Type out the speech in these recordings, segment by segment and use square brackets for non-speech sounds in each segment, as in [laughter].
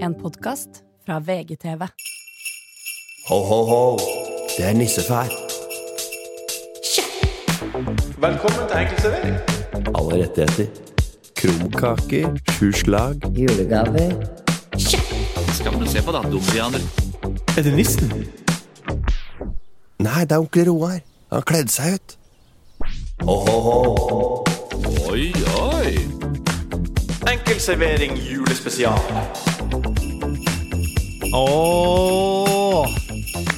En podkast fra VGTV. Ho, ho, ho. Det er nissefær. Velkommen til Enkeltservering. Alle rettigheter. Krumkaker, sju slag. Er det nissen? Nei, det er onkel Roar. Han kledde seg ut. Ho, ho, ho. Enkeltservering julespesial. Ååå.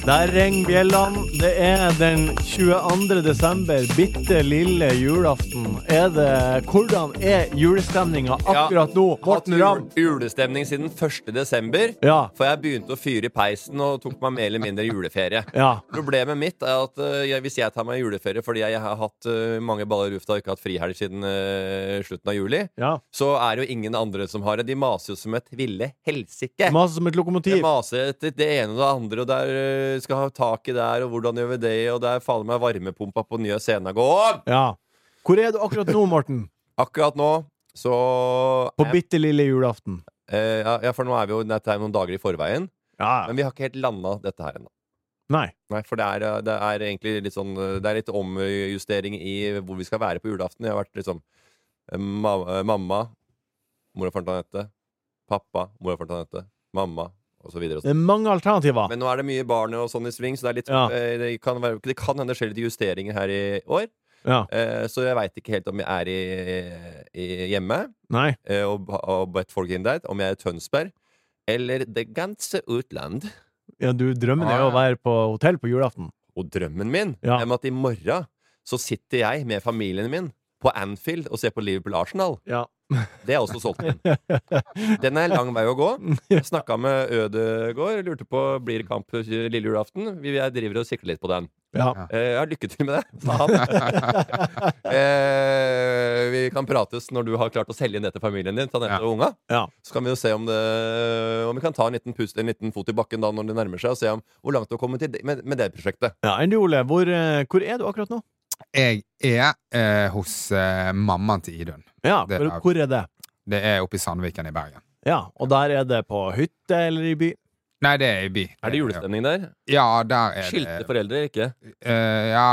Der ringer bjellene. Det er den 22. desember, bitte lille julaften. Er det, hvordan er julestemninga akkurat nå? Morten Ramm. Hatt jul- julestemning siden 1. desember. Ja. For jeg begynte å fyre i peisen og tok meg mer eller mindre juleferie. [laughs] Ja. Problemet mitt er at øh, jeg, hvis jeg tar meg juleferie fordi jeg har hatt øh, mange baller i lufta og ikke hatt frihelg siden øh, slutten av juli, Ja. så er det jo ingen andre som har det. De maser jo som et ville helsike. Maser som et Jeg lokomotiv. maser etter det ene og det andre, og der øh, skal ha taket der, og hvordan gjør vi det, og der faller meg varmepumpa på nye Senagård. Ja. Hvor er du akkurat nå, Morten? Akkurat nå så På er- bitte lille julaften. Eh, ja, ja, for nå er vi jo dette er noen dager i forveien. Ja. Men vi har ikke helt landa dette her ennå. Nei. Nei, for det er, eh, det er egentlig litt sånn eh, Det er litt omjustering i hvor vi skal være på julaften. Jeg har vært liksom eh, ma eh, mamma, mora for Antoinette, pappa, mora for Antoinette, mamma, og så videre. og så Det er mange alternativer. men nå er det mye barn og sånn i sving, så det, er litt, Ja. eh, det, kan være, det kan hende det skjer litt justeringer her i år. Ja. Eh, så jeg veit ikke helt om jeg er i, i hjemme Nei. eh, og, og bedt folk inn der, om jeg er i Tønsberg eller det ganske utland. Ja, du, drømmen er jo å være på hotell på julaften. Og drømmen min Ja. er med at i morgen så sitter jeg med familien min på Anfield og ser på Liverpool Arsenal. Ja. Det er også solgt [laughs] inn. Den er lang vei å gå. Jeg snakka med Ødegård, lurte på blir det kamp lille julaften. Vi jeg driver og sikler litt på den. Ja. Eh, ja, lykke til med det, sa [laughs] han. eh, vi kan prates når du har klart å selge inn det til familien din, til Anette og unga. Ja. Så kan vi jo se om, det, om vi kan ta en liten, pust, en liten fot i bakken da når det nærmer seg, og se om, hvor langt du har kommet til det, med, med det prosjektet. Ja, Enn du, Ole? Hvor, eh, hvor er du akkurat nå? Jeg er eh, hos eh, mammaen til Idun. Ja, Det hvor, er- hvor er det? Det er oppe i Sandviken i Bergen. Ja, Og der er det på hytte eller i by? Nei, det er i by. Eh, Er det julestemning der? Ja, der er Skilte det. foreldre, ikke? Eh, ja,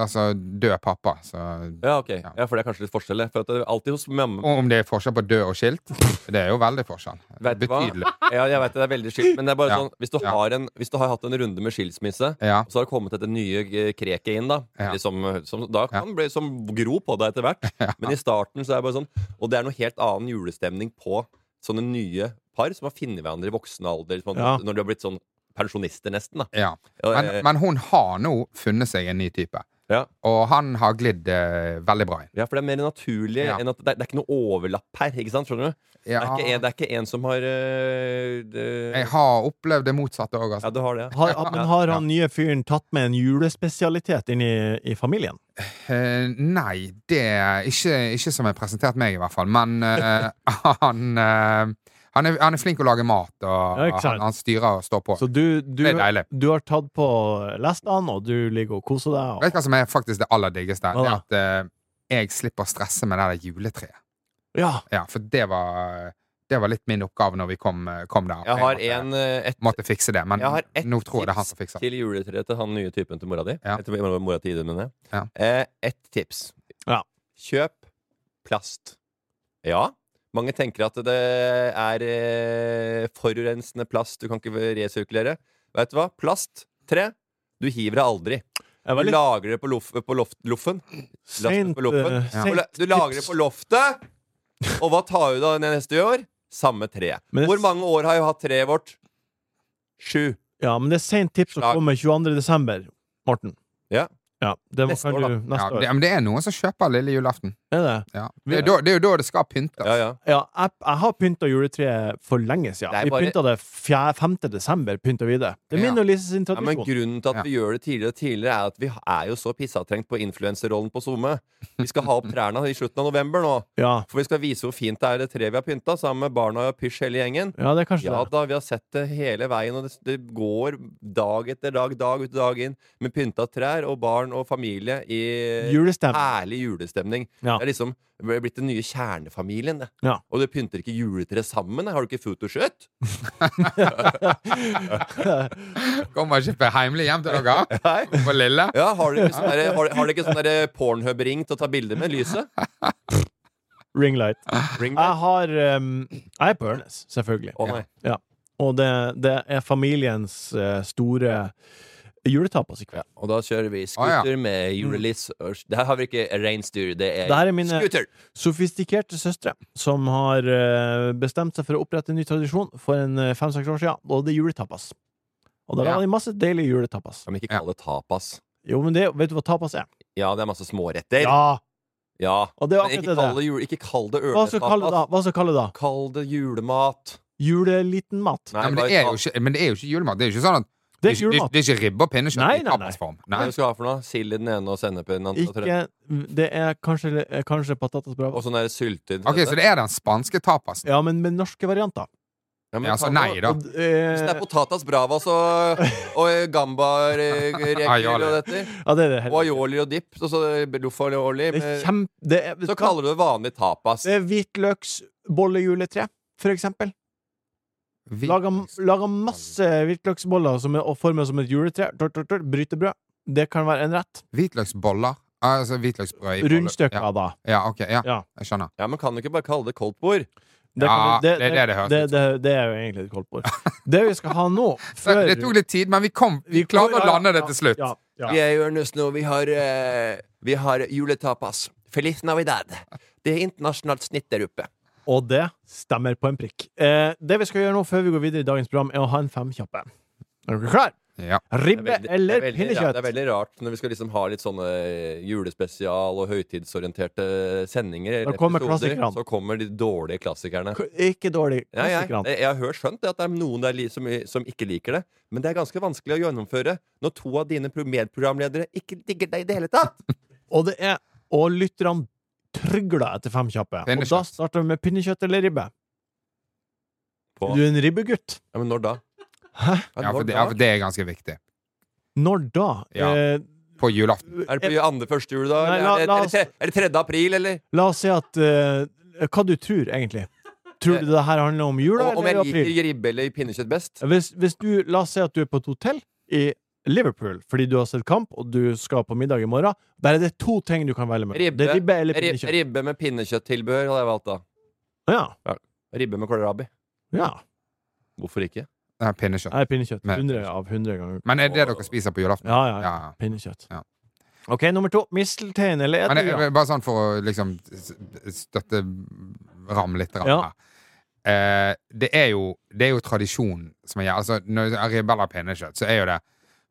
altså død pappa, så Ja, ok. Ja, For det er kanskje litt forskjell. For at det er alltid hos mamma Og Om det er forskjell på død og skilt? Det er jo veldig forskjell. Vet du hva? Betydelig. ja, Jeg vet det er veldig skilt, men det er bare Ja. sånn hvis du, Ja. har en, hvis du har hatt en runde med skilsmisse, Ja. Og så har det kommet dette nye eh, kreket inn, da. Ja. Eller Som, som da kan bli som gro på deg etter [laughs] hvert. Men i starten så er det bare sånn Og det er noe helt annen julestemning på sånne nye par som har funnet hverandre i voksen alder. Som har, Ja. Når de har blitt sånn pensjonister, nesten. da ja. Og, Men, eh, men hun har nå funnet seg en ny type. Ja. Og han har glidd eh, veldig bra inn. ja, for det er mer naturlig Ja. enn at det er, det er ikke noe overlapp her. ikke sant, skjønner du? Det, er ikke en, det er ikke en som har eh, det- Jeg har opplevd det motsatte òg, Ja, altså. du har det. ja. Har, men har han nye fyren tatt med en julespesialitet inn i, i familien? Eh, nei, det er ikke, ikke som er presentert meg, i hvert fall. Men eh, [laughs] han, eh, han, er, han er flink å lage mat, og Ja, ikke sant. han, han styrer og står på. Så du, du, Det er deilig. du har tatt på lestene, og du ligger og koser deg? Vet du Og, hva som er faktisk det aller diggeste? Det er Hva at eh, jeg slipper å stresse med det der juletreet. ja, Ja, for det var, det var litt min oppgave når vi kom, kom der. Jeg har måtte, en, eh, et, måtte fikse det, men jeg har ett nå tror jeg det er han tips som fikser det. til juletreet til han nye typen til mora di. Ja. Etter mora- mora til Ida, mener jeg. Ja. Eh, ett tips. Ja. Kjøp plast. Ja. Mange tenker at det er eh, forurensende plast du kan ikke resirkulere. Vet du hva? Plast, tre, du hiver det aldri. jeg Du var litt lager det på, loff, på loft, loffen. sent, på loffen. eh, Ja. Du la- sent Du lager det tips. på loftet, og hva tar du da ned neste år? Samme tre. Men det- Hvor mange år har jeg hatt treet vårt? Sju. Ja, men det er sent tips som Slag. kommer 22. desember, Morten. Ja. Ja, det må, Neste kan år, da. du, Ja, neste det, år. men det er noen som kjøper lille julaften. Er det? Ja. Det, er da, det er jo da det skal pyntes. Ja, ja. Ja, jeg, jeg har pynta juletreet for lenge siden. Det er Vi bare- pynta det fjer- 5. desember. Pynta vi det. Det er min Ja. og Lises sin Ja, men tradisjon. grunnen til at Ja. vi gjør det tidligere og tidligere, er at vi er jo så pissatrengt på influenserrollen på SoMe. Vi skal ha opp trærne i slutten av november nå. Ja. For vi skal vise hvor fint det er det treet vi har pynta, sammen med barna og pysj hele gjengen. ja, det er kanskje Ja det. da, vi har sett det hele veien, og det, det går dag etter dag, dag ut og dag inn, med pynta trær og barn barn og familie i Julestemning. ærlig julestemning. Ja. Det er liksom det er blitt den nye kjernefamilien. Det. Ja. [laughs] Og du pynter ikke juletreet sammen. da. Har du ikke photoshoot? Kommer ikke på heimlig hjem til dere? [laughs] Nei. På Lille? Ja, har dere ikke sånn derre- har, har dere ikke sånn derre Pornhub-ring til å ta bilder med lyset? Ringlight. Ring [laughs] Jeg har ehm, Jeg er på Ørnes, selvfølgelig. Å, nei. Ja. Og det, det er familiens eh, store juletapas i kveld. Og da kjører vi ja. scooter med julelys. Det her har vi ikke reinsdyr, det er, Det her Mm. er mine- scooter. Sofistikerte søstre som har eh, bestemt seg for å opprette en ny tradisjon for en eh, fem-seks år siden, og det er juletapas. Og da Ja. har de masse deilige juletapas. Kan vi ikke Ja. kalle det tapas? Jo, men det, vet du hva tapas er? Ja, det er masse småretter. Ja! Ja. Og det er Men akkurat ikke det. kall det, jule, ikke kall det Hva skal kalle det da? ørnetapas. Hva skal kalle det da? Kall det julemat. Juleliten mat? Nei, Ja, men, bare det er kall- jo ikke, men det er jo ikke julemat. Det er jo ikke sånn at Det er det er ikke ikke- julemat. det er ikke ribbe og pinnekjøtt Nei, i nei, nei. tapasform. Hva Nei. du skal ha for noe? Sild i den ene og sennep i den andre? tror jeg. Ikke Det er kanskje eh, Kanskje patatas Og brava. sånn der syltetøy. Ok, Så det er den spanske tapasen? Ja, men med norske varianter. Ja, men Ja, så kan nei, du- da. Og, Hvis det er eh, potatas bravas og, og gambareker og Aioli. dette, ja, det er det. og hele- aioli og dipp, og så loff aioli Det er med- kjempe... Det er, Så kaller du det vanlig tapas. det er hvitløksbollejuletre, for eksempel. Vi- Laga, laga masse hvitløksboller som er og formet som et juletre. Tør, tør, tør, brytebrød. Det kan være en rett. Hvitløksboller? Altså hvitløksbrød i boller. Rundstykker, Ja, da. ja ok. Ja, Ja. jeg skjønner. Ja, men kan du ikke bare kalle det koldtbord? Ja, kan du- det er det det høres det, det, ut liksom. det er jo egentlig et koldtbord. Det vi skal ha nå, [laughs] Så før Det tok litt tid, men vi kom Vi klarte å Ja, ja, lande det ja, til slutt. Ja, ja. Vi er i Ørnes nå. Vi har, eh, vi har juletapas. Feliz Navidad. Det er internasjonalt snitt der oppe. Og det stemmer på en prikk. Eh, det vi skal gjøre nå før vi går videre i dagens program, er å ha en femkjappe. Er dere klar? Ja. Det Ribbe er veldig- det er eller veldig- Ja, det pinnekjøtt? er veldig rart når vi skal liksom ha litt sånne julespesial- og høytidsorienterte sendinger. Da kommer episoder, klassikerne. Så kommer de dårlige klassikerne. K- Ikke dårlig. Ja, jeg, Klassikerne. jeg har hørt skjønt det at det er noen der li- som, som ikke liker det, men det er ganske vanskelig å gjennomføre når to av dine pro- medprogramledere ikke digger deg i det hele tatt. Og det er Og lytterne trygler etter fem kjappe. Og Pinnekjøtt. da starter vi med pinnekjøtt eller ribbe. På. Du er en ribbegutt. Ja, men når da? Ja, for når det, da? ja, for det er ganske viktig. Når da? Ja. Eh, På julaften. Er det på andre første jul, da? Nei, Eller la- er, det, la er, det tre, er det 3. april, eller? la oss si at eh, Hva du tror, egentlig? Tror du det her handler om jula Eh, Om, om eller jeg april? liker ribbe eller pinnekjøtt best? Hvis, hvis du, la oss si at du er på et hotell i Liverpool fordi du har sett kamp og du skal på middag i morgen. Der er det to ting du kan velge mellom. Ribbe. Det er ribbe eller Ri- pinnekjøtt. Ribbe med pinnekjøtttilbehør hadde jeg valgt, da. Ja, Ribbe med kålrabi. ja. Hvorfor ikke? Nei, Pinnekjøtt. Jeg er pinnekjøtt. Men- 100 av 100 ganger. Men er det dere spiser på julaften? Ja, ja. ja. Ja. Pinnekjøtt. Ja. OK, nummer to. Misteltein eller Men edderkopp? det, bare sånn for å liksom s- støtte Ram litt grann Ja. her. Eh, det, er jo, det er jo tradisjon som jeg gjør. Altså, når jeg ribbe eller pinnekjøtt, så er jo det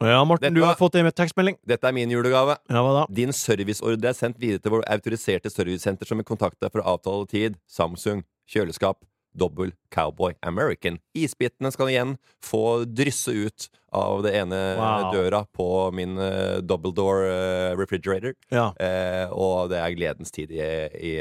Ja, Morten, Dette du var- har fått det med tekstmelding. Dette er min julegave. Ja, hva da? Din serviceordre er sendt videre til vår autoriserte servicesenter som vil kontakte deg for å avtale tid. Samsung, kjøleskap, dobbel, cowboy, American. Isbitene skal igjen få drysse ut av det ene Wow. døra på min eh, double door eh, refrigerator. Ja. Eh, og det er gledens tid i, i,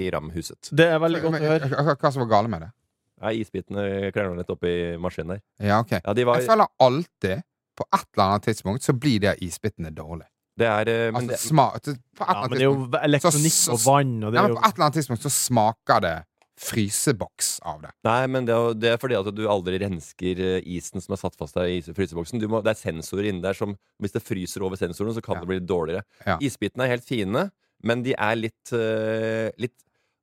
i ramhuset. Det er veldig godt å høre. Hva hva som var gale med det? Nei, isbitene krangler litt oppi maskinen der. Ja, ok. Ja, de var, Jeg føler alltid, på et eller annet tidspunkt, så blir de isbitene dårlige. det er, eh, men Altså det, smak På et Ja, men eller annet det er jo tidspunkt v- elektronikk Så- så- og vann, og det Ja, er men jo på et eller annet tidspunkt så smaker det fryseboks av det. Nei, men det er, det er fordi at du aldri rensker eh, isen som er satt fast der i is- fryseboksen. Du må, det er sensorer inni der som Hvis det fryser over sensoren, så kan Ja. det bli dårligere. Ja. Isbitene er helt fine, men de er litt, eh, litt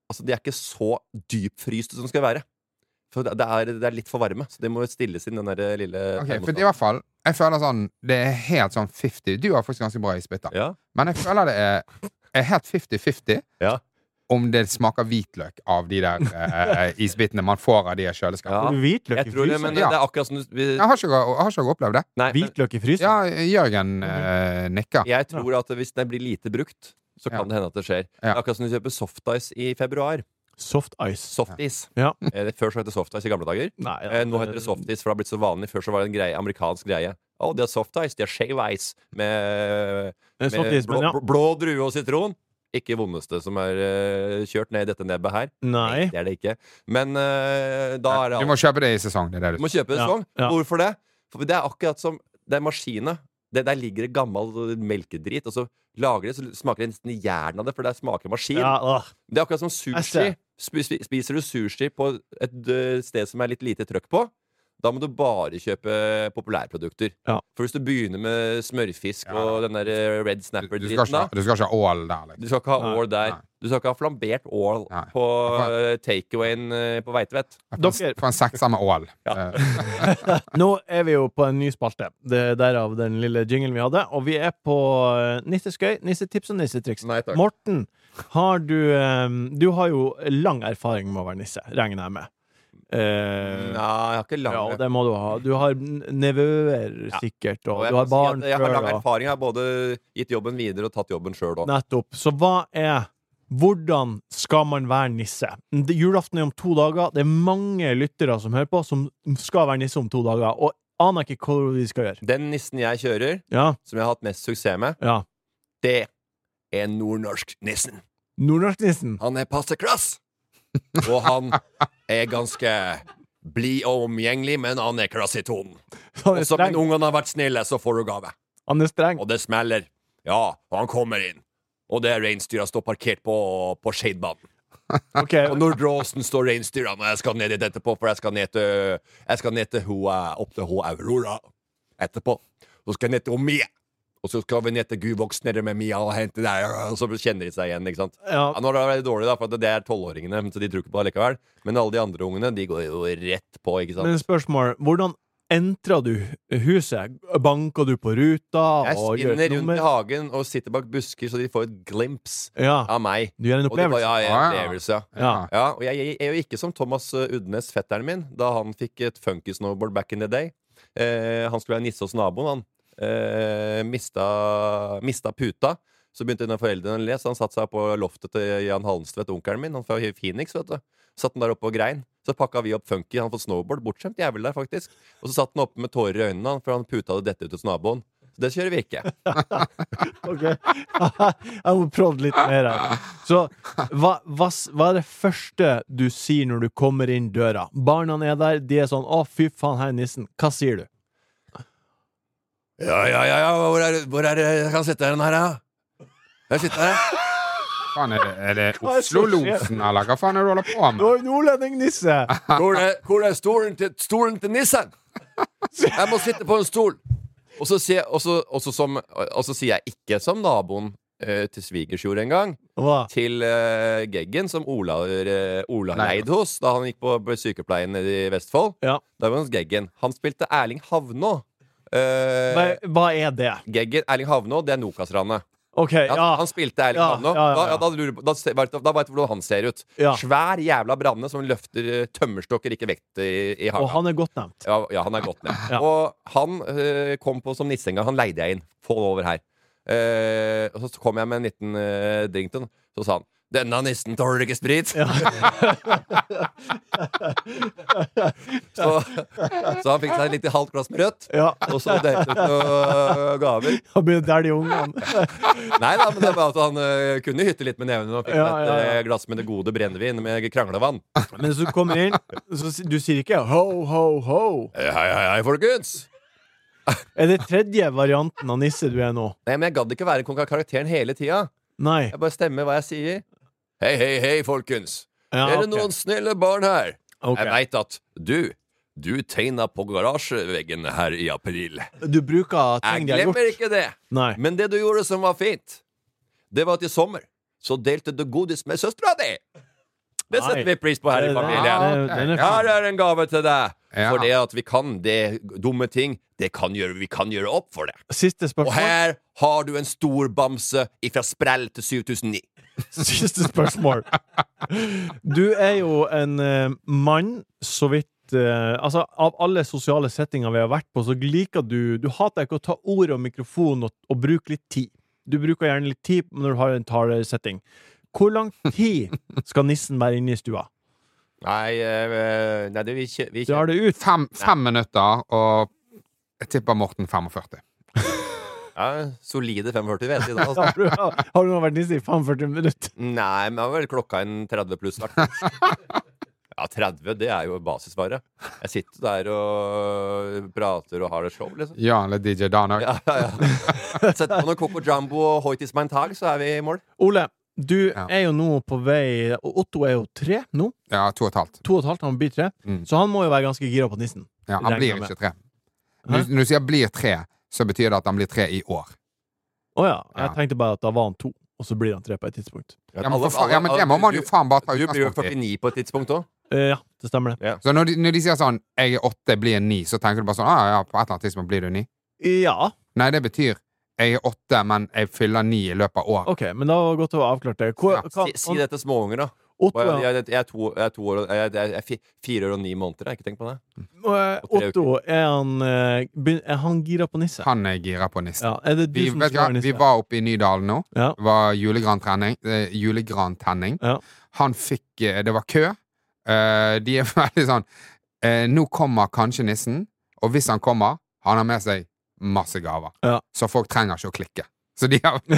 Altså, de er ikke så dypfryste som de skal være. For det det er, det er litt for varme, så det må stilles inn, den der eh, lille Ok, termostaten. for det er i hvert fall Jeg føler sånn Det er helt sånn 50 Du har faktisk ganske bra isbiter. Ja. Men jeg føler det er, er helt 50-50 Ja. om det smaker hvitløk av de der eh, isbitene man får av de i kjøleskapet. Ja. Hvitløk i Jeg tror det, fryseren. men det Ja. er akkurat som du vi, Jeg har ikke, jeg har ikke opplevd det. Nei, men Hvitløk i fryseren. Ja, Jørgen eh, nikker. jeg tror at hvis den blir lite brukt, så kan Ja. det hende at det skjer. Det Ja. er Akkurat som du kjøper softice i februar. Soft ice. Softis. Ja. Eh, det- Før så het det softice i gamle dager. Nei, ja, Eh, Nå heter det softis, for det har blitt så vanlig. Før så var det en greie, amerikansk greie. Å, de har soft ice. De har shave ice med, Det er med Eh, soft ice, blå, men ja. bl- blå drue og sitron. Ikke vondeste som er eh, kjørt ned i dette nebbet her. Nei. Det er det ikke. Men eh, da er det Du må kjøpe det i sesong. Det er det Du du må kjøpe en Ja, sesong. ja. Hvorfor det? For det er akkurat som det er maskinet. Det der ligger det gammel melkedrit, og så lager det, så smaker det nesten i hjernen av det, for det smaker maskin. Ja, åh. Det er akkurat som Jeg sushi. ser. Spi- spi- Spiser du sushi på et ø, sted som er litt lite trøkk på, da må du bare kjøpe populærprodukter. Ja. For hvis du begynner med smørfisk Ja. og den der ø, red Du skal snapper-dritten ikke, da ha- du skal ikke ha ål der, Du liksom. skal ikke ha Nei. ål der. Nei. Du skal ikke ha flambert ål Nei. på Nei. ø, takeawayen ø, på Veitvet. Dere- Få en sekser med ål. Ja. Eh, Nå er vi jo på en ny spalte. Det er derav den lille jinglen vi hadde. Og vi er på eh, nisseskøy, nissetips og nissetriks. Nei, takk. Morten, har du eh, Du har jo lang erfaring med å være nisse, regner jeg med. Eh, Nei, jeg har ikke lang ja, og det må du ha. Du har n- nevøer, sikkert, og, Og jeg du har kan si barn at Jeg har lang sjøl. erfaring. Jeg har både gitt jobben videre og tatt jobben sjøl òg. Nettopp. Så hva er Hvordan skal man være nisse? Det- Julaften er om to dager. Det er mange lyttere som hører på, som skal være nisse om to dager. Og aner ikke hva de skal gjøre. Den nissen jeg kjører, Ja, som jeg har hatt mest suksess med, ja. det er nordnorsknissen. Nordnorsknissen. [laughs] Han er passe klass! Og han er ganske blid og omgjengelig, men han er klass i tonen. Han Og er som streng. ungene har vært snille, så får du gave. Han er streng. Og det smeller. Ja, og han kommer inn. Og det er reinsdyra står parkert på, på Skeidbanen. Ok, Og [laughs] Nordre-Åsen står reinsdyra når jeg skal ned dit etterpå, for jeg skal ned til, jeg skal ned til ho, eh, opp til ho Aurora etterpå. Så skal jeg ned til ho Mie. Og så skal vi ned til Guvox nede med Mia og hente der, og så kjenner de seg igjen, ikke sant. ja. Ja, nå er det veldig dårlig, da, for at det er tolvåringene, så de tror ikke på det likevel. Men alle de andre ungene, de går jo rett på, ikke sant. Men spørsmål Hvordan entrer du huset? Banker du på ruta Jeg og gjør spinner et rundt i nummer? hagen og sitter bak busker, så de får et glimps Ja. av meg. Du gjør en Og de bare, opplevelse? ja, jeg er Ah, en ja. opplevelse, ja. Ja. Ja, og jeg, jeg er jo ikke som Thomas eh, Udnes, fetteren min, da han fikk et funky snowboard back in the day. Eh, han skulle være nisse hos naboen, han. Eh, mista, mista puta. Så begynte en av foreldrene å le, så han satte seg på loftet til Jan Halmstvedt, onkelen min. Han fra Phoenix, vet du. Satt han der oppe og grein. Så pakka vi opp funky. Han fått snowboard. Bortskjemt jævel der, faktisk. Og så satt han oppe med tårer i øynene, han, for han puta hadde dette ut hos naboen. Så det kjører vi ikke. Ok. [laughs] jeg må prøve litt mer her. Så hva, hva, s- hva er det første du sier når du kommer inn døra? Barna er der, de er sånn 'Å, fy faen, her er nissen'. Hva sier du? Ja, ja, ja, ja. Hvor er, hvor er jeg kan sette den her, ja? Jeg sitter her, ja. faen er det? Er det Hva er det som Oslo-losen, eller hva faen er det du Du holder på med? var jo nordlending-nisse! [laughs] Hvor er, hvor er stolen, til, stolen til nissen? Jeg må sitte på en stol! Og så sier, og så, og så som, og så sier jeg ikke som naboen eh, til svigers gjorde en gang, Hva? til eh, Geggen, som Ola, eh, Ola Nei. leid hos da han gikk på på sykepleien nede i Vestfold. Ja. Da var han hos Geggen. Han spilte Erling Havnå. Hva, Eh, hva er det? Geggen, Erling Havnå, det er Nokas-ranet. OK, Ja, ja. Han spilte Erling Ja, Havnå. ja, ja, Da, ja. ja, da, lurer, på- da, se- vet du- da vet du hvordan han ser ut. Ja. Svær jævla branne som løfter eh, tømmerstokker, ikke vekt i, i Og haka. han er godt nevnt. Ja, ja, han er godt ned. Ja. Og han eh, kom på som nisse en gang. Han leide jeg inn. Få det over her. Eh, og så kom jeg med en liten eh, drink til han. Så sa han 'Denne nissen tåler ikke sprit'. [laughs] så, så han fikk seg et lite halvt glass med rødt. Ja. Og så delte ut noen eh, gaver. Da blir det der de ungene Nei da, men det var at han eh, kunne hytte litt med nevene og fikk Ja, seg et ja, ja. eh, glass med det gode brennevin med kranglevann. [laughs] Men så kommer inn så, si- Du sier ikke ho, ho, ho. Hei, Eh, hei, hei, folkens! Er det tredje varianten av nisse du er nå? Nei, men jeg gadd ikke være konge av karakteren hele tida. Nei. Jeg bare stemmer hva jeg sier. Hei, hei, hei, folkens. Ja, er det ok. noen snille barn her? Ok. Jeg veit at du du tegna på garasjeveggen her i april. Du bruker Jeg ting de har glemmer gjort? ikke det. Nei. Men det du gjorde som var fint, det var at i sommer så delte du godis med søstera di. Det setter Nei. vi pris på her i Det- familien. det- den er Ja. fin. Her er en gave til deg. Ja. For det at vi kan det dumme ting, det kan gjøre, vi kan gjøre opp for det. Siste Og spørsmål. her har du en stor bamse ifra sprell til 7009. [laughs] Siste spørsmål. Du er jo en eh, mann, så vidt eh, Altså, av alle sosiale settinger vi har vært på, så liker du Du hater ikke å ta ordet og mikrofonen og, og bruke litt tid. Du bruker gjerne litt tid når du har en talesetting. Hvor lang tid skal nissen være inne i stua? Nei, eh, nei det vi ikke, vi Du ikke. har det ut. [laughs] Fem, fem minutter, og jeg tipper Morten 45. Ja, Solide 45 vet jeg da. Har [laughs] Altså. du, har du nå vært nisse i 45 minutter? Nei, men det var vel klokka en 30 [laughs] pluss. i hvert fall. Ja, 30, det er jo basisvaret. Jeg sitter der og prater og har et show, liksom. Ja, eller DJ Dan òg. Ja, ja, ja. [laughs] Sett på noe Coco Jumbo og Hoitis Mantag, så er vi i mål. Ole, du Ja. er jo nå på vei og Otto er jo tre nå. Ja, to og et halvt. To og et halvt, han blir tre. Mm. Så han må jo være ganske gira på nissen. Ja, han Regner blir med. ikke tre. Hæ? Når du- når du sier 'blir tre', så betyr det at han blir tre i år. Å ja. Jeg Ja. tenkte bare at da var han to, og så blir han tre på et tidspunkt. Ja, men, for faen, ja, men det må man jo faen bare ta Du blir jo utgangspunkt i. 49 på et tidspunkt òg. Eh, ja, det stemmer det. Så når de, når de sier sånn 'jeg er åtte, blir en ni', så tenker du bare sånn ah, ja, 'på et eller annet tidspunkt blir du ni'. Ja, Nei, det betyr 'jeg er åtte, men jeg fyller ni i løpet av året'. OK, men da var det godt å ha avklart det. Hvor, Ja, hva, Si, si det til småunger, da. Otto, Jeg, ja. jeg, jeg, er to, jeg er to år og- jeg, jeg, jeg er fi- fire år og ni måneder, jeg har ikke tenkt på det. Eh, Otto, er han, eh, begyn- er han gira på nisse? Han er gira på nissen. Ja, er det du Vi, som vet du, skal hva, være vi nisse? var oppe i Nydalen nå. Ja. Det var julegrantenning. Eh, julegrantenning. Ja. Han fikk eh, Det var kø. Eh, de er [laughs] veldig sånn eh, Nå kommer kanskje nissen, og hvis han kommer, han har med seg masse gaver. Ja. Så folk trenger ikke å klikke. Så de har, [laughs] de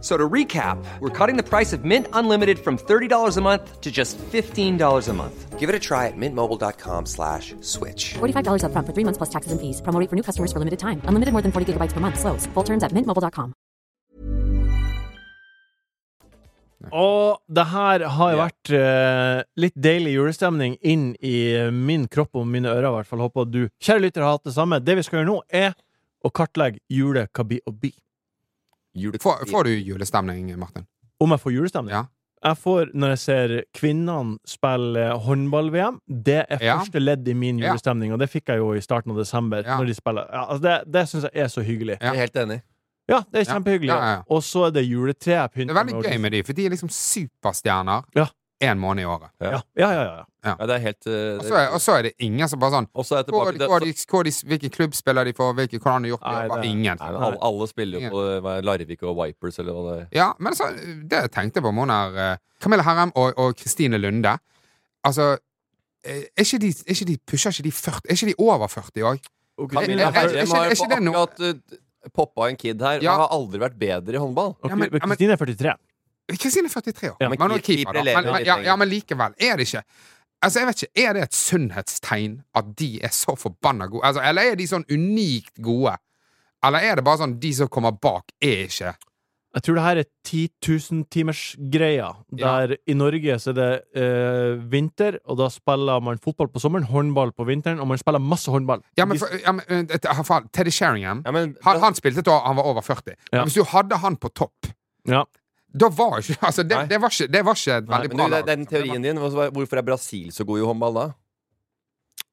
So to recap, we're cutting the price of Mint Unlimited from $30 a month to just $15 a month. Give it a try at mintmobile.com slash switch. $45 upfront for three months plus taxes and fees. Promo rate for new customers for limited time. Unlimited more than 40 gigabytes per month. Slows. Full terms at mintmobile.com. Og det her har jo Ja. vært eh, litt deilig julestemning inn i eh, min kropp og mine ører, i hvert fall. Håper at du, kjære lytter, har hatt det samme. Det vi skal gjøre nå, er å kartlegge jule, kabi og bi. Får, får du julestemning, Martin? Om jeg får julestemning? Ja. Jeg får når jeg ser kvinnene spille eh, håndball-VM. Det er Ja. første ledd i min Ja. julestemning, og det fikk jeg jo i starten av desember. Ja. Når de spiller. Ja, altså det det syns jeg er så hyggelig. Jeg Ja. er helt enig. Ja, det er Ja. kjempehyggelig. Ja, ja, ja. Og så er det juletreet jeg Det pynter er veldig gøy med de, for de er liksom superstjerner Ja. én måned i året. Ja, ja, ja. ja. Ja, det er helt eh, Og så er, og så er det ingen som bare sånn Og så er jeg hvor, tilbake er de- til- hvor, er de, hvor er de, Hvilken klubb spiller de for? Hvilke, hvordan har de gjort det? Nei, det Bare er- ingen. Nei, men alle, alle spiller jo på eh, hva er det, Larvik og Vipers eller hva det er. Ja, men så, det jeg tenkte på Moner eh, Camilla Herrem og, og Kristine Lunde Altså eh, er ikke de, er ikke de pusher ikke de 40 Er ikke de over 40 òg? Og Kan vi- Kristine- er- er- er- er- er- er- er- ikke det noe- poppa eh, en kid her. Ja. Og har aldri vært bedre i håndball. og Ja, men- ja, men- Kristine er 43. Kristine er 43 år. Ja, men men hun er keeper keeper, da. lever Men, men, litt ja, lenger. ja, men likevel. Er det ikke Altså, jeg vet ikke, Er det et sunnhetstegn at de er så forbanna gode? Altså, eller er de sånn unikt gode? Eller er det bare sånn de som kommer bak, er ikke Jeg tror det her er 10.000-timersgreia. Der i Norge så er det eh, vinter, og da spiller man fotball på sommeren, håndball på vinteren, og man spiller masse håndball. Ja, men, Hvis- for, ja, men eh, et- ha, faen, Teddy Sheringham Ja, men, han, han spilte da han var over 40. Ja. Men Hvis du hadde han på topp ja. Da var ikke [laughs] altså, det, Nei. det, var ikke, det var ikke et Nei, veldig men bra du, lag. den teorien din, hva- hvorfor er Brasil så god i håndball da?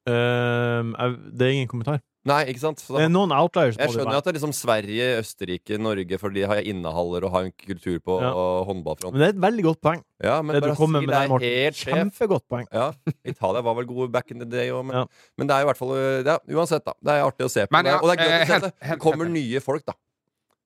Ehm, jeg, det er ingen kommentar. Nei, ikke sant? Så da- Det er noen outliers. må Jeg det skjønner være. jo at det er liksom Sverige, Østerrike, Norge, for de har innehaller og har en kultur på Ja. og håndballfront. Men det er et veldig godt poeng. Ja, men det du kommer Brasil med der, er Morten. helt sjef. Kjempegodt poeng. Ja, Italia var vel gode back in the day òg, men, Ja. men det er jo i hvert fall ja, Uansett, da. Det er artig å se på. Men det, ja, og det er gøy eh, å se at helt- det- helt- det kommer helt- nye folk, da.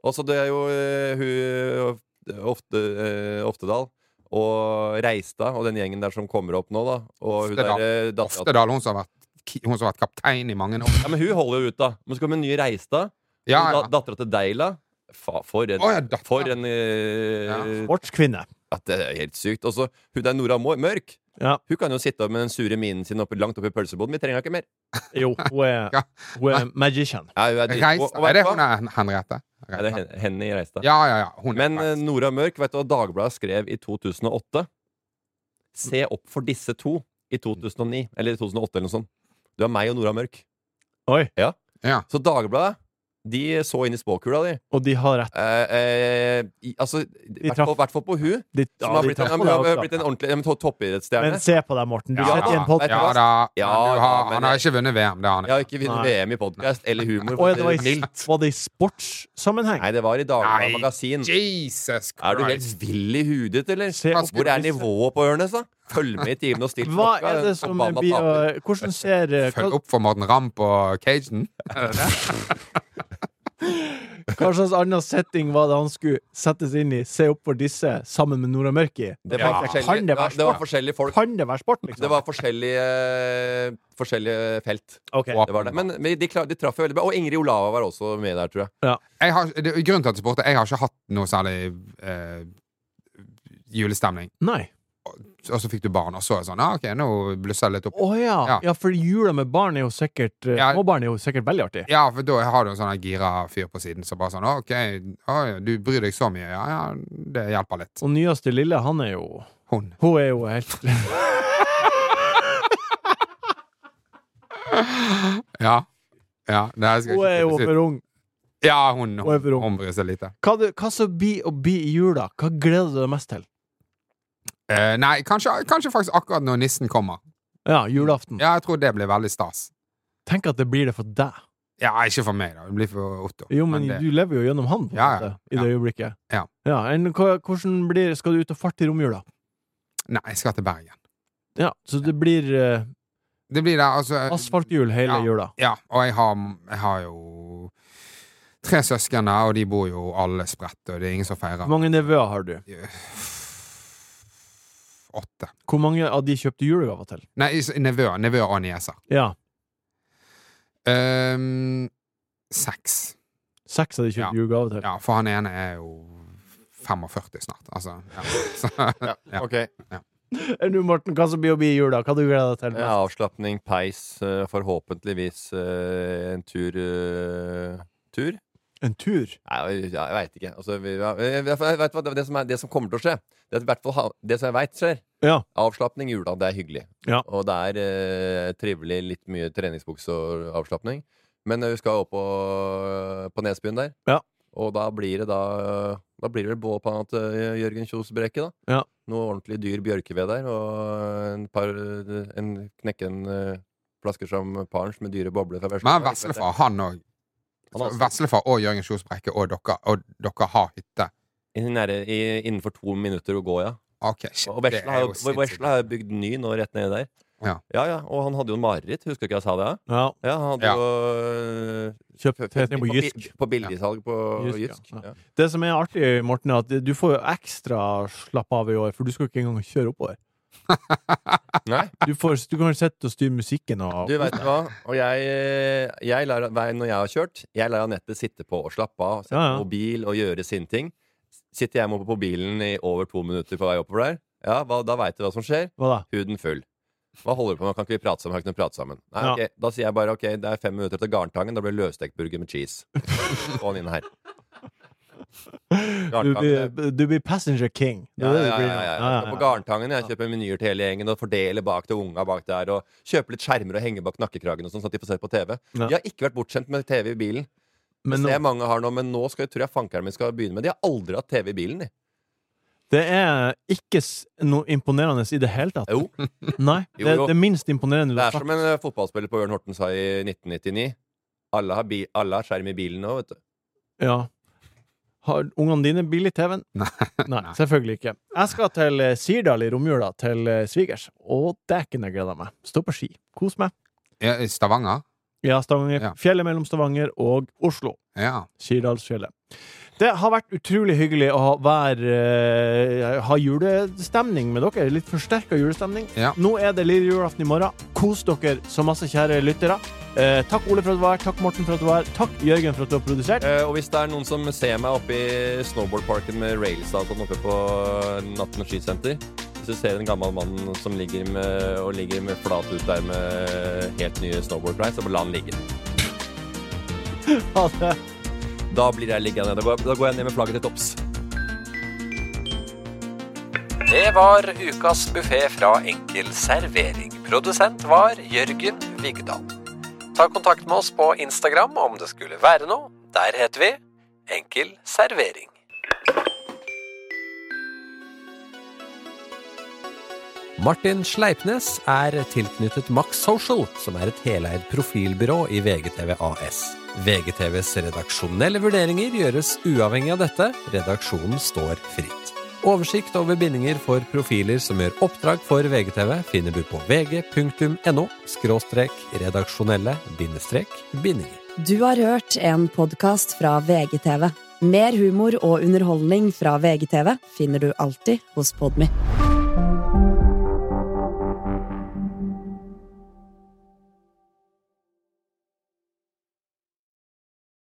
Og så det er jo eh, hun ofte, eh, Oftedal og Reistad og den gjengen der som kommer opp nå, da. Og hun Oftedal. der, eh, dattera- Oftedal, hun som har vært, ki- hun som har vært kaptein i mange [laughs] år. Ja, men hun holder jo ut, da. Men så kommer en ny Reistad. Ja, da- ja. Dattera til Deila. Fa, for en, Å, ja, dattera. for en eh, Ja. Sportskvinne. At det er helt sykt. Og så hun der Nora Mo- Mørk, Ja. hun kan jo sitte med den sure minen sin oppe, langt oppi pølseboden. Vi trenger ikke mer. Jo, hun er, [laughs] Ja. hun er magician. Ja, hun er dritgod. Reist, Og vet er det du hva? hun er Henriette? Ja, det er hen- henne i Reistad. Ja, ja, ja. Hun er Men eh, Reist. Nora Mørk, vet du hva Dagbladet skrev i 2008? Se opp for disse to i 2009. Eller i 2008, eller noe sånt. Du er meg og Nora Mørk. Oi. Ja. Ja. Så Dagbladet De så inn i spåkula, de. Og de har rett. Eh, eh, i, altså, I traff- hvert fall på hun. De- som ja, har de blitt, en- traff- ja, men hun ja, har blitt en ordentlig en to- toppidrettsstjerne. Men se på deg, Morten. Du Ja, sitter i en da. eh, podkast. ja da. Ja, Men du har, men- han har ikke vunnet VM. Det har han Jeg ikke. har ikke vunnet Nei. VM i podkast eller humor. Å, ja, det var, i, Mildt. var det i sportssammenheng? Nei, det var i Dagbladet Nei. Magasin. Jesus Er du helt Christ. vill i hudet, eller? Se opp- Hvor er nivået på Ørnes, da? Følg med i timen og still Hva klokka, er det den som forbanna blir taper. å- Hvordan ser eh, Følg hva, opp for Morten Ramm på Cajun. hva slags annen setting var det han skulle settes inn i? Se opp for disse sammen med Nora Mørki? Det var, Ja. forskjellige, Kan det være det var sport? forskjellige folk. Kan det være sport, liksom? Det var forskjellige, forskjellige felt. Ok. Det var det. Men men de, klar, de traff jo veldig bra. Og Ingrid Olava var også med der, tror jeg. Jeg har, det, er grunnen til at jeg spurte, jeg har ikke hatt noe særlig eh, julestemning. Nei. Og så fikk du barn, og så er det sånn ah, OK, nå blusser det litt opp. Å ja. Ja. ja, for jula med barn er jo sikkert eh, Ja. Småbarn er jo sikkert veldig artig. Ja, for da har du en sånn her gira fyr på siden som bare sånn ah, OK, ah, ja, du bryr deg så mye. Ja, ja, det hjelper litt. Og nyeste lille, han er jo Hun. Hun er jo helt [laughs] Ja. Ja, det her skal Hun er jeg jo ikke klippes ut. for ung. Ja, hun, Hun er hun, for ung. hun bryr seg lite. Hva, du- hva som blir å bli i jula? Hva gleder du deg mest til? Eh, nei, kanskje, kanskje faktisk akkurat når nissen kommer. Ja, julaften. Ja, jeg tror det blir veldig stas. Tenk at det blir det for deg. Ja, ikke for meg, da. Det blir for Otto. Jo, men, det, du lever jo gjennom han på en Ja, ja. måte, i Ja. det øyeblikket. Ja. enn hva, hvordan blir, Skal du ut og farte i romjula? Nei, jeg skal til Bergen. Ja, så det blir eh, Det blir der, altså asfalthjul hele ja. jula. Ja, og jeg har, jeg har jo tre søsken der, og de bor jo alle spredt, og det er ingen som feirer. Hvor mange nevøer har du? Eh, Åtte. Hvor mange av de kjøpte julegaver til? Nei, is- nevøer. Nevøer og nieser. Ja, Ehm, seks. seks av de kjøpte Ja. julegaver til. Ja, for han ene er jo 45 snart, altså. [laughs] Ja. Så, ja. Ok. Enn Eh, du, Morten, hva som blir å bli i jula? Hva du gleder deg til? mest? Avslapning, peis, eh, forhåpentligvis eh, en tur eh, Tur? En tur? Nei, jeg, jeg veit ikke. Altså, vi, ja, jeg, jeg, jeg vet hva, det, som er, det som kommer til å skje, det, er at i hvert fall, ha- det som jeg veit skjer Ja. Avslapning i jula, det er hyggelig. Ja. Og det er eh, trivelig, litt mye treningsbukse og avslapning. Men eh, vi skal opp på, på Nesbyen der, Ja. og da blir det da Da blir det bål på at eh, Jørgen Kjos Brekke, da. Ja. Noe ordentlig dyr bjørkeved der, og en par En knekken eh, flasker som Parns med dyre bobler fra Men han veslefar, han òg. Han er også- Veslefar og Jørgen Kjos Brekke og dere, og dere har hytte. I nære- i- Innenfor to minutter å gå, ja. Ok, shit, Og det er Vesla har, jo jo- sinnssykt. Vesla har jo bygd ny nå rett nedi der. Ja. ja ja, Og han hadde jo mareritt, husker du ikke jeg sa det? Ja, Ja. ja han hadde Ja. jo øh, Kjøpt fetning på bi- Jysk. På billigsalg på Jysk, ja. Jysk. Ja. Ja. Det som er artig, Morten, er at du får jo ekstra slapp av i år, for du skal jo ikke engang kjøre oppover. Nei, Du, får, du kan sitte og styre musikken og du veit hva. Og jeg, øh, jeg lar, hver- når jeg har kjørt, jeg lar Anette sitte på og slappe av, sette Ja, ja. på mobil og gjøre sine ting. Sitter jeg med på bilen i over to minutter på vei oppover der, ja, hva, da veit du hva som skjer. Hva da? Huden full. Hva holder du på med? Kan ikke vi prate sammen? Kan ikke vi prate sammen? Nei, Ja. ok. Da sier jeg bare ok, det er fem minutter til Garntangen. Da blir det løstekt burger med cheese. Få han inn her. Du Garntangen. blir, det- du blir passenger king. Det Ja, er ja, det du ja, blir. ja, ja. Jeg står På Garntangen jeg kjøper menyer til hele gjengen og fordeler bak til unga bak der. Og kjøper litt skjermer og henger bak nakkekragen og sånn, sånn at de får se på TV. Ja. De har ikke vært bortskjemt med TV i bilen. Men Men det nå, er mange har nå, men nå skal, tror jeg fankeren min skal begynne med. De har aldri hatt TV i bilen, de. det er ikke s- noe imponerende i det hele tatt. Jo. [laughs] Nei, Jo, det, jo. det minst imponerende du Det har er som sagt. en eh, fotballspiller på Ørn Horten sa i 1999. Alle har, bi alle har skjerm i bilen nå, vet du. Ja. Har ungene dine billig TV-en? Nei. [laughs] Nei, selvfølgelig ikke. Jeg skal til eh, Sirdal i romjula, til eh, svigers. Og dæken, jeg gleder meg. Stå på ski. Kos meg. Ja, i Stavanger? Ja, Stavanger. Ja. Fjellet mellom Stavanger og Oslo. Ja. Sirdalsfjellet. Det har vært utrolig hyggelig å ha, være, eh, ha julestemning med dere. Litt forsterka julestemning. Ja. Nå er det lille julaften i morgen. Kos dere så masse, kjære lyttere. Eh, takk, Ole, for at du var her. Takk, Morten, for at du var her. Takk, Jørgen, for at du har produsert. Eh, og hvis det er noen som ser meg oppe i snowboardparken med rails og sånn oppe på Natten skisenter Hvis du ser en gammel mann som ligger med, og ligger med flat ut der med helt nye snowboardgreier, så la han ligge. Ha det. Da blir jeg liggende. Da går jeg- da går jeg ned med flagget til topps. Det var ukas buffé fra Enkel servering. Produsent var Jørgen Vigdal. Ta kontakt med oss på Instagram om det skulle være noe. Der heter vi Enkel servering. Martin Sleipnes er tilknyttet Max Social, som er et heleid profilbyrå i VGTV AS. VGTVs redaksjonelle vurderinger gjøres uavhengig av dette, redaksjonen står fritt. Oversikt over bindinger for profiler som gjør oppdrag for VGTV, finner du på vg.no redaksjonelle bindinger. Du har hørt en podkast fra VGTV. Mer humor og underholdning fra VGTV finner du alltid hos Podmy.